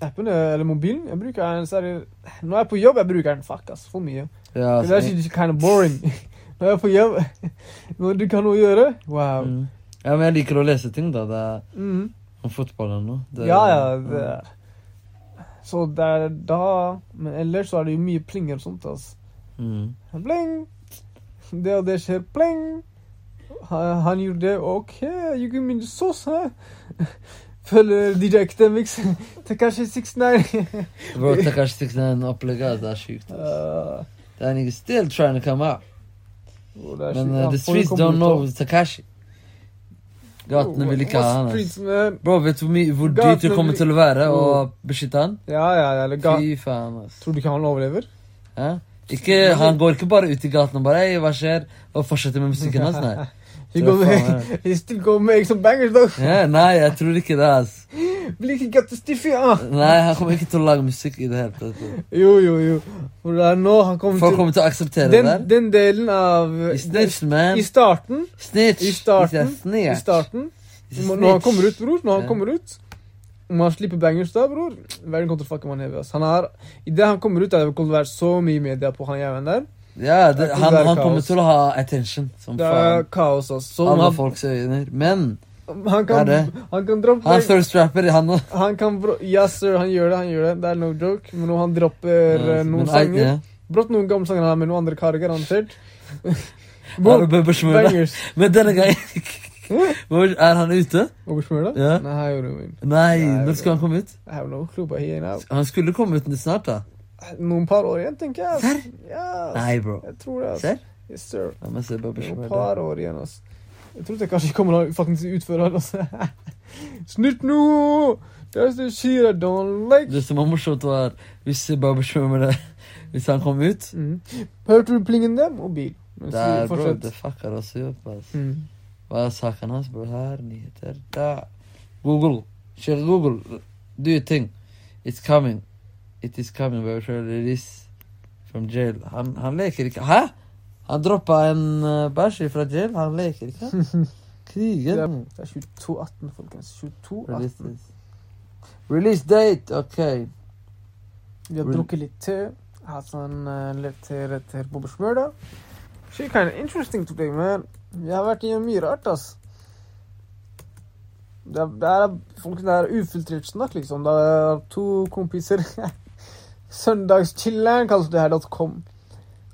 Appen, eh, eller mobilen, jeg bruker den seriøst Når jeg er på jobb, jeg bruker den. Fuck, ass. For mye. Ja, altså, Det er ikke kind of boring. Når jeg er på jobb, når du kan noe å gjøre Wow. mm. ja, men jeg liker å lese ting, da. Det er Mm. om fotball eller noe. Det- mm. Ja, ja. Det er. Så det er da Men ellers så er det jo mye plinger og sånt, altså. Mm. Bling! Det og det skjer. Bling! Han, han gjorde det. OK, you give me the sauce, hæ? Følger DJ Academics. Tekashi 69. Bro, Takashi 69 opplegget, ass, det er sjukt. ass. [laughs] Uh, Det er nigga still trying to come out. oh, det Men er sjukt. uh, Han the får jo streets komme don't ut know av- Takashi. Gatene vil ikke ha Hva han. altså. ass. streets, man? Bro, vet du hvor, mye- hvor Gatene dyrt det kommer vil- til å være å Mm. beskytte han? Ja, ja, ja. Eller ga... Fy faen, altså. ass. Tror du ikke han overlever? Hæ? Ikke, han går ikke bare ut i gaten og bare Hei, hva skjer? Og fortsetter med musikken hans, [laughs] nei. He, Tror go, jeg faen meg. [laughs] he still go make some bangers, though. Ja, nei, jeg tror ikke det, ass. Blir ikke gatt stiffy, ah. Nei, han kommer ikke til å lage musikk i det hele tatt. bro. Jo, jo, jo. Hvor det er nå han kommer Folk til kommer til å akseptere det den, der. den delen av I Snitch, man. I starten. Snitch. I starten. He's a snitch. I starten He's a Når når han snitch. kommer ut, bror. Når han Ja. kommer ut Om han slipper bangers da, bror Verden kommer til å fucke man heavy, ass. Han er Idet han kommer ut, er det kommer til å være så mye media på han jævelen der. Ja, det, Jeg tror han, det er han kommer kaos. til å ha attention som Det er faen. kaos, ass. Så Alle han, folks øyne. Men han kan Det er det. Han kan droppe han bang- er thirst rapper, han òg. Han kan bro Yes, sir. Han gjør det, han gjør det. Det er no joke. Men når han dropper eh, noen sanger Brått noen gamle sanger han har med noen andre [laughs] karer, garantert. Bror, bangers. Men denne gangen Hvor- Er han ute? Hvorfor smør det? Ja. Nei, jeg gjorde min. Nei, Nei, når skal han komme ut? Jeg har noe klubba her nå. Han skulle komme ut snart, da. Noen par år igjen, tenker jeg. Serr? Yes. Nei, bro. Jeg tror det. ass. Serr? Yes, sir. La meg se Noen Babishmurda. par år igjen, ass. Jeg trodde jeg kanskje kommer til å faktisk utføre det. ass. [laughs] Snutt nå! That's the shit I don't like. Det som var morsomt, var hvis Babishmurda Hvis han kom ut Mm. Hørte du plingen der? Mobil. Men Der, så bro, fortsett. det fucker oss jo opp, ass. Mm. Hva er saken hans, bro? Her, nyheter der. Google. Kjør Google. Do your thing. It's coming. It is coming. Bare kjør release from jail. Han, han leker ikke. Hæ? Han droppa en uh, bæsj fra jail. Han leker [laughs] ikke. Det Krigen. er det er 22.18, folkens. 22.18. Release, this. release date. OK. Vi har Rel- drukket litt te. Hatt sånn eh, litt te rett her på Børsmøla. She kind of interesting today, man. Jeg har vært i mye rart, ass. Det er, det er, folk, det er ufiltrert snakk, liksom. Det er to kompiser. [laughs] Søndagschilleren kalles det her .com.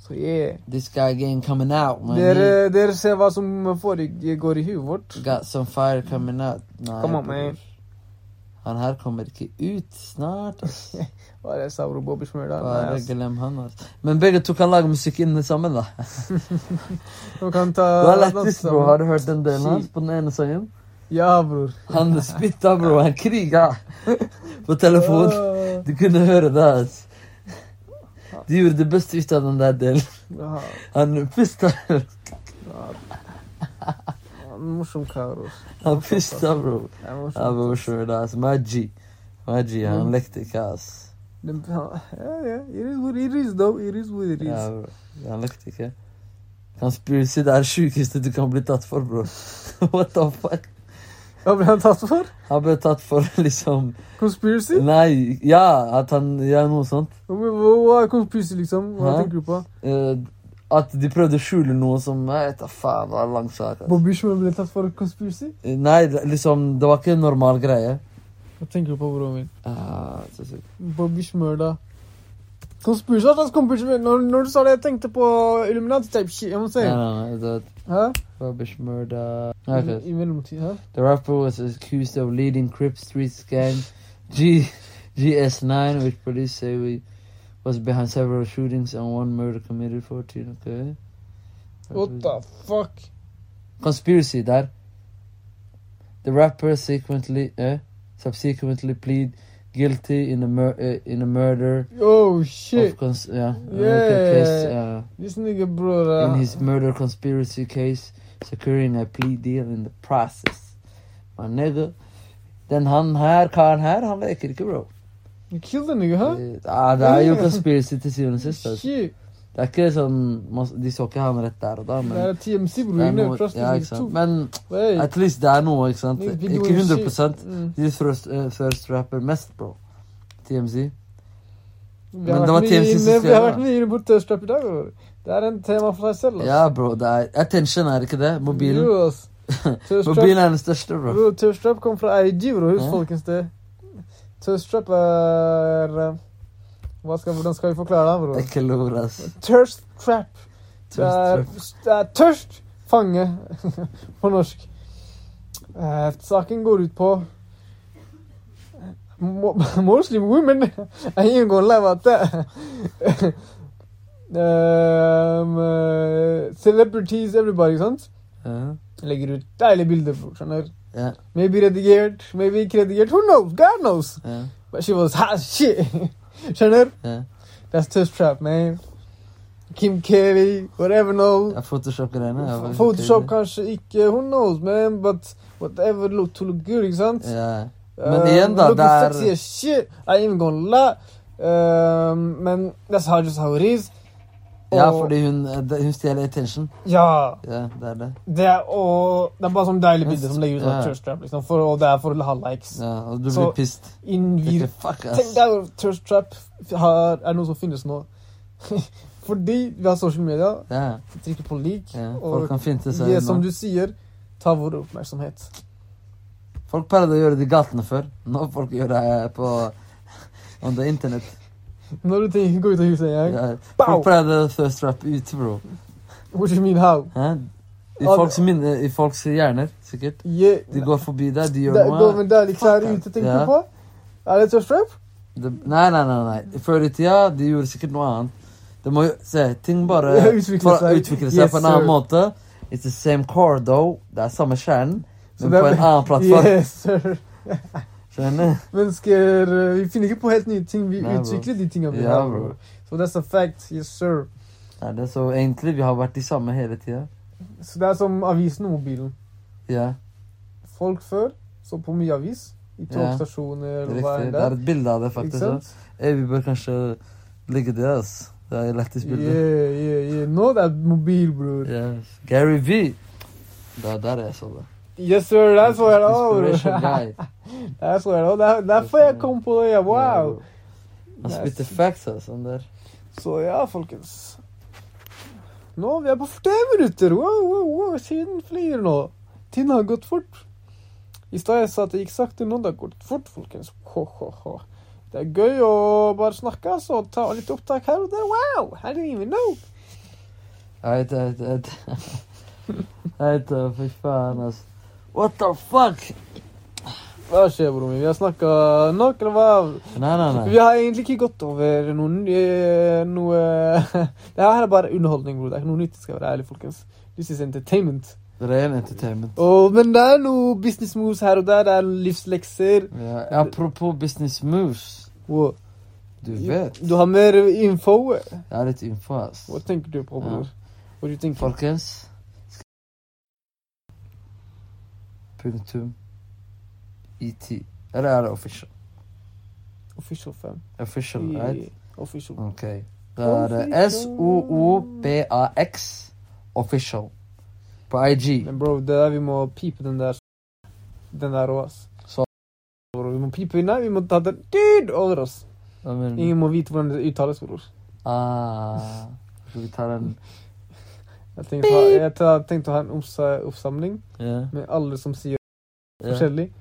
Så yeah. This guy again coming out. Man. Dere, dere ser hva som foregår i huet vårt. Got some fire coming out. Nei, Come on, bror. man. Han her kommer ikke ut snart. [laughs] ass. Hva er det jeg sa, bro? Bobby Smøla? Nei, Bare ass. glem han, altså. Men begge to kan lage musikk inne sammen, da. Man kan ta Det var lættis, bro. Har du hørt den delen Shit. hans på den ene sangen? Ja, bror. Han spytta, bro. Han kriga [laughs] på telefon. Ah. Du kunne høre det, altså. De gjorde det beste ut av den der delen. Ja. Han pusta, En Morsom kar. ass. han pusta, bro. Det er morsomt. Ja, bro, sure, det, altså. Maji. Maji, han Mm. lekte ikke, ass. Den- Ja, ja. It is what it is, though. It is what it is. Ja, bro. Han lekte ikke. Conspiracy, det er det sjukeste du kan bli tatt for, bro. [laughs] What the fuck? Hva ble han tatt for? Han ble tatt for [laughs] liksom Conspiracy? Nei, ja, at han Ja, noe sånt. Hva hva er conspiracy, liksom? Hva Hæ? tenker du på? Eh, at de prøvde å skjule noe som Jeg vet da faen, det var en lang sak. ass. Bobby Schmøl ble tatt for conspiracy? Eh, Nei, det- liksom, det var ikke en normal greie. Hva tenker du på, broren min? Ah, så sykt. Bobby Schmøl, da. Conspiracy? Hva slags conspiracy? Når, når du sa det, jeg tenkte på Illuminati-type shit. Jeg må si. No, no, no. The Hæ? rubbish murder. I, Okay. I mellomtid, hæ? The rapper was accused of leading Crip Street Gang G- GS9, which police say we was behind several shootings and one murder committed 14. Okay. What the fuck? conspiracy that the rapper sequently eh, subsequently plead guilty in a mur- eh, in a murder Oh, shit. of cons- yeah, uh, Yeah. case, uh, This nigga, bro. in his murder conspiracy case securing a plea deal in the process. My nigga. Den han her karen her, han leker ikke, bro. You killed the nigga, hæ? Eh, ah, det er jo conspiracy til syvende og sist. altså. Shit. Det er ikke sånn man- De så ikke han rett der og da, men Det er TMC, bror. det er You noe, never trust altså, ja, me. ikke sant? Men Hey. at least det er noe, ikke sant? Niggas be Ikke doing 100 shit. Mm. De first, eh, first rapper mest, bro. TMZ. Vi Men har det var vært mye TMC som inne- skrev Vi har det, vært da. mye inne på Tørstrap i dag. bror. Det er en tema for seg selv. ass. Ja, bro. Det er attention, er det ikke det? Mobilen. [laughs] Jo, ass. Mobilen Tørstrap- er den største, bro. Bro, Tørstrap kom fra IG, bro. Husk, Ja. folkens, det. Tørstrap er eh, hva skal, Hvordan skal vi forklare det, Det bro? er ikke lov, ass. Tørstrap. Det er, Tørstrap. det er tørst fange [laughs] på norsk. Eh, saken går ut på Mo- [laughs] Muslim women I ain't gonna lie about [laughs] that. um, eh, celebrities, everybody, ikke sant? Ja. Legger ut deilige bilder. bror, Skjønner. Ja, Maybe redigert, maybe ikke redigert. Who knows? God knows. ja, But she was hot as shit. [laughs] Skjønner? ja. That's test trap, man. Kim Kelly, whatever knows. Jeg Photoshop-greiene. er faktisk Photoshop crazy. kanskje ikke, who knows man, but whatever look to look good, ikke sant? Um, Ja. Eh, Men igjen, da. Looking Det er sexy as shit, I ain't gonna lie. Um, men that's how just how it is. Ja, Og- fordi hun, eh, det- hun stjeler attention. Ja, Ja, det er det. det er, og, det er bare sånn deilig bilde som legger ut av Ja. Church Trap, liksom, for, og det er for å ha likes. Ja, og du Så- blir pissed. Innvir. Tenker, Fuck, Tenk ass. deg hvor Church Trap har, er noe som finnes nå. [laughs] Fordi vi har sosiale medier, Ja, vi trykker på lik, ja. Folk og kan finte seg det som unna. du sier, tar vår oppmerksomhet. Folk pleide å gjøre det i gatene før. Nå folk gjør det eh, på On the internet. Når du tenker gå ut av huset, jeg. Ja. Bow. Folk pleide å thirst rap ute, bro. What do you mean how? Hæ? I Ja, folks, minne, I folks hjerner, sikkert. Yeah. De går forbi deg, de gjør Da- noe. da- men deilig klær Fuck, ute, tenker ja. du på? Er det tørst rap? Det, nei, nei, nei, nei. Før i tida, de gjorde sikkert noe annet. Det må jo se, Ting [laughs] bare Ja, utvikle for- seg. utvikle seg Yes, på en annen sir. måte. It's the same core, though. Det er samme kjernen, men på en annen plattform. [laughs] Yes, sir. Skjønner du? Mennesker eh, Vi finner ikke på helt nye ting. Vi Nei, bro. utvikler de tinga vi Ja, har. bro. bro. So that's a fact. Yes, sir. Nei, det er så egentlig, vi har vært de samme hele tida. Så det er som avisen og mobilen. Ja, Folk før så på mye avis. I togstasjoner og hva riktig. enn Det er det er. et bilde av det, Ikke faktisk. da. sant? Eh, vi bør kanskje legge det, ass. Det er et lættis Yeah, bilde. yeah, yeah. Nå det er mobil, bror. Yes. Gary V. Det er der jeg så det. Yes, sir. Der så jeg det Inspiration òg. guy. Der så jeg [laughs] det også. Der- Derfor jeg kom på det. ja. Wow. Han Nice. spytter facts, altså. han der. Så ja, folkens. Nå, vi er på 40 minutter! Wow, wow, wow, tiden flyr nå. Tiden har gått fort. I stad jeg sa at det gikk sakte, nå det har gått fort, folkens. Ho, ho, ho. Det er gøy å bare snakke, så ta litt opptak her og der. Wow! I didn't even know. Jeg vet, jeg vet, jeg [laughs] vet. Jeg vet, det, fy faen, altså. What the fuck? Hva skjer, bror min? Vi har snakka nok, eller hva? Nei, nei, nei. Vi har egentlig ikke gått over noen eh, noe [laughs] Det her er bare underholdning, bror. Det er ikke noe nytt, skal jeg være ærlig, folkens. This is entertainment. Det er en entertainment. Åh, men det er noe business moves her og der. Det er livslekser. Ja, apropos business moves. Og Du vet. Du har mer info. Jeg har litt info, ass. Hva tenker du på, bror? Hva du tenker på? Folkens. Punktum. ET. E Eller er det official? Official fam. Official, Yeah, right? Mm. Official. Ok. Da er det S-O-O-B-A-X. Official. På IG. Men bro, det der vi må pipe den der Den der òg, ass. Så- Bro, vi må pipe Nei, vi må ta den dyd over oss. Hva mener du? Ingen må vite hvordan det uttales, bror. Ah, skal vi ta den? Jeg tenkte, å ha- jeg ta- tenkte å ha en oppsa- oppsamling Ja. med alle som sier Ja. forskjellig.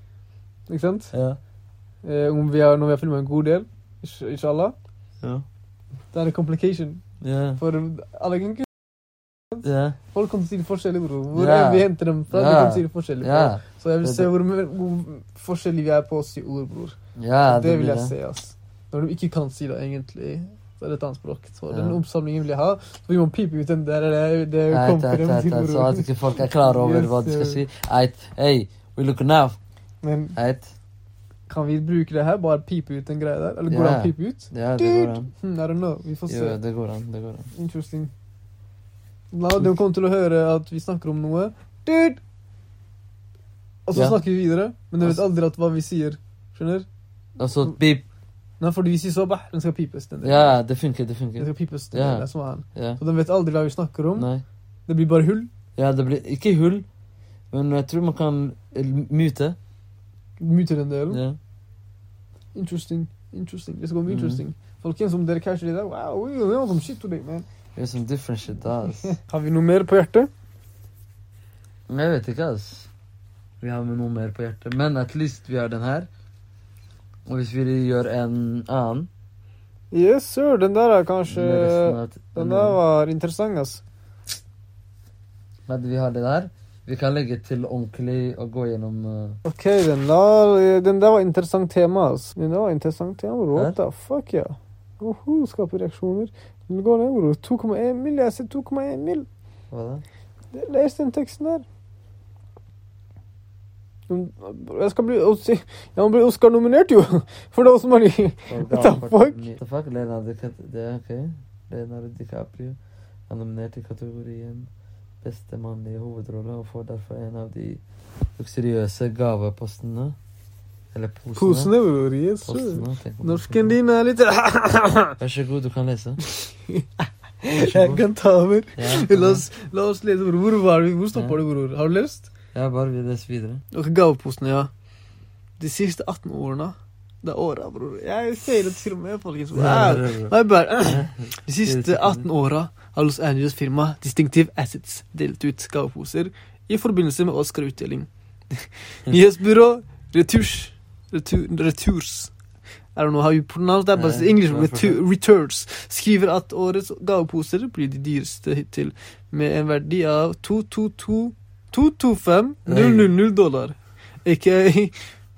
Ikke sant? ja. Eh, om vi har, når vi har filma en god del. Inshallah. ja. Det er en complication. Ja. For alle kan ikke Ja. Folk kan si det forskjellig, bror. Hvor Ja. er vi henter dem fra? Ja. De kan si det forskjellig. Ja. bror. Så jeg vil Det- se hvor, mer- hvor forskjellig vi er på å si ord, bror. ja det vil blir jeg se, ass. Når de ikke kan si det, egentlig. Så er det et annet språk. Så Ja. den oppsamlingen vil jeg ha. Så vi må pipe ut den der det, det Eit, eit, kom frem eit, til, eit, så [laughs] at bror. ikke folk er klar over Yes, hva de skal sir. si. Eit, hey, we look now. Men Eit. kan vi bruke det her? Bare pipe ut den greia der? Eller går det Ja. an å pipe ut? Ja, det går Dude! an. Hmm, I don't know. Vi får se. Jo, det går an. Det går an. Interesting. La de kommer til å høre at vi snakker om noe. Dude! Og så Ja. snakker vi videre, men de vet Altså- aldri at hva vi sier. Skjønner? Og så Altså, beep. Nei, fordi vi sier sabah, den skal pipes. Den, delen. Ja, det funker, det den funker. skal pipes, den, Ja. delen, som er han. Ja. Så de vet aldri hva vi snakker om. Nei. Det blir bare hull. Ja, det blir ikke hull, men jeg tror man kan eh, mute. Mute den delen. Ja. Interesting. Interesting. Det skal bli Mhm. interesting. Folkens, om dere catcher det der, wow, we we know some shit today, man. Gjør some sånn different shit, ass. [laughs] Har vi noe mer på hjertet? Men Jeg vet ikke, ass. Vi har med noe mer på hjertet. Men at least vi har den her. Og hvis vi gjør en annen Yes, sir. Den der er kanskje med resten av- Den der var interessant, ass. Men vi har det der. Vi kan legge til ordentlig og gå gjennom eh, Ok, den der, eh, den der var interessant tema, ass. Den der var interessant tema, bro. What the fuck, ja. Uhu, skaper reaksjoner. Den går ned, bro. 2,1 mil, jeg ser 2,1 mil. Hva da? Les den teksten der. Den- bro, Jeg skal bli Os- Jeg må bli Oscar-nominert, jo! [laughs] For det er også mange What the fuck? What the fuck? Lena DiCaprio Det er ok. Leonardo DiCaprio er nominert i kategorien beste mannlige hovedrolle og får derfor en av de luksuriøse gavepostene. Eller posene. Posene, bror. Yes, sir. Postene, tenk om- Norsken din er litt [laughs] Vær så god, du kan lese. Jeg kan ta over. Ja, La oss, la oss lese, bror. Hvor, var vi? Hvor stopper Ja. du, bror? Har du lyst? ja bare vi leser videre. Ok, gaveposene, ja. De siste 18 årene Det er åra, bror. Jeg feiler til og med, folkens. Wow. Mm. Nei, bare [clears throat] De siste 18 åra har Los Angeles-firmaet Distinctive Assets delt ut gaveposer i forbindelse med [laughs] Oscar-utdeling. Nyhetsbyrå Retusj retu, Returs I don't know how you pronounce that, but it's Nei, English nei, retu, Returns skriver at årets gaveposer blir de dyreste hittil, med en verdi av 222 225 000 dollar. Ikke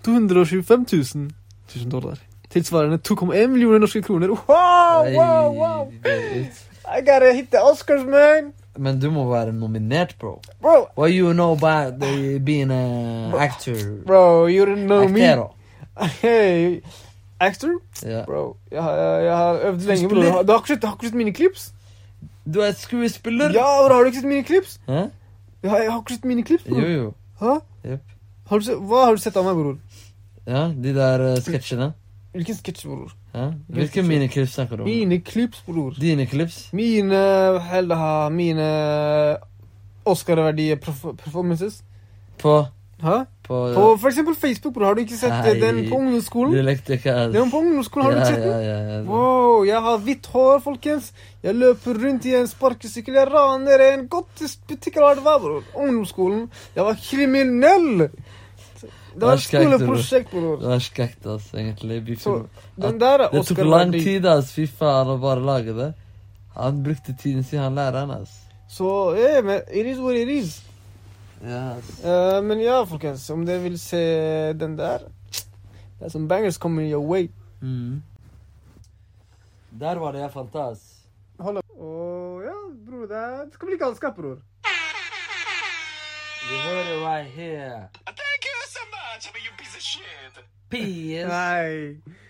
225 000 000 dollar. Tilsvarende 2,1 millioner norske kroner. Wow, wow, wow! Nei, det er ut. I gotta hit the Oscars, man! Men du må være nominert, bro. Bro, What you know about [sighs] the, being an actor? bro, you don't know me. Actero. [laughs] Hey, actor? Ja. Bro, jeg, har- jeg, jeg har øvd lenge, bror. Skuespiller. Du har ikke sett, har ikke sett mine klips? Du er skuespiller. Ja, bror, har du ikke sett mine klips? Hæ? Jeg har, jeg har ikke sett mine klips, Jo, bror. jo. Hæ? Jep. Har du sett, hva har du sett av meg, bror? Ja, de der eh, sketsjene. Hvilken sketsj, bror? Ja. Hvilke miniklips snakker du om? Mine klips, bror. Dine klips? Mine, heller ha, mine Oscar-verdige perf- performances. På Hæ? På, eh, På for eksempel Facebook, bror. Har du ikke sett eh, Nei. den på Du ungdomsskolen? lekte ikke altså. Den på ungdomsskolen, har du ikke sett den? Ja, ja, ja, ja. Wow, jeg har hvitt hår, folkens. Jeg løper rundt i en sparkesykkel. Jeg raner en godtesbutikk. eller hva det var, bror. Ungdomsskolen. Jeg var kriminell! Det var Vær et skrekk, bror. skoleprosjekt, bror. Det var skægt, ass, egentlig. Vi Så film- den der er Det tok lang Oscar-verdig. tid, ass, fy faen, å bare lage det. Han brukte tiden sin, han læreren, ass. Så eh, men it is what it is. Ja, ass. Eh, men ja, folkens, om dere vil se den der Det er som bangers coming your way. Mm. Der var det jeg fant det, ass. Hold opp. Og ja, bror, det, er, det skal bli galskap, bror. You heard it right here. Thank you so much, I mean, you piece of shit. Peace. Nei.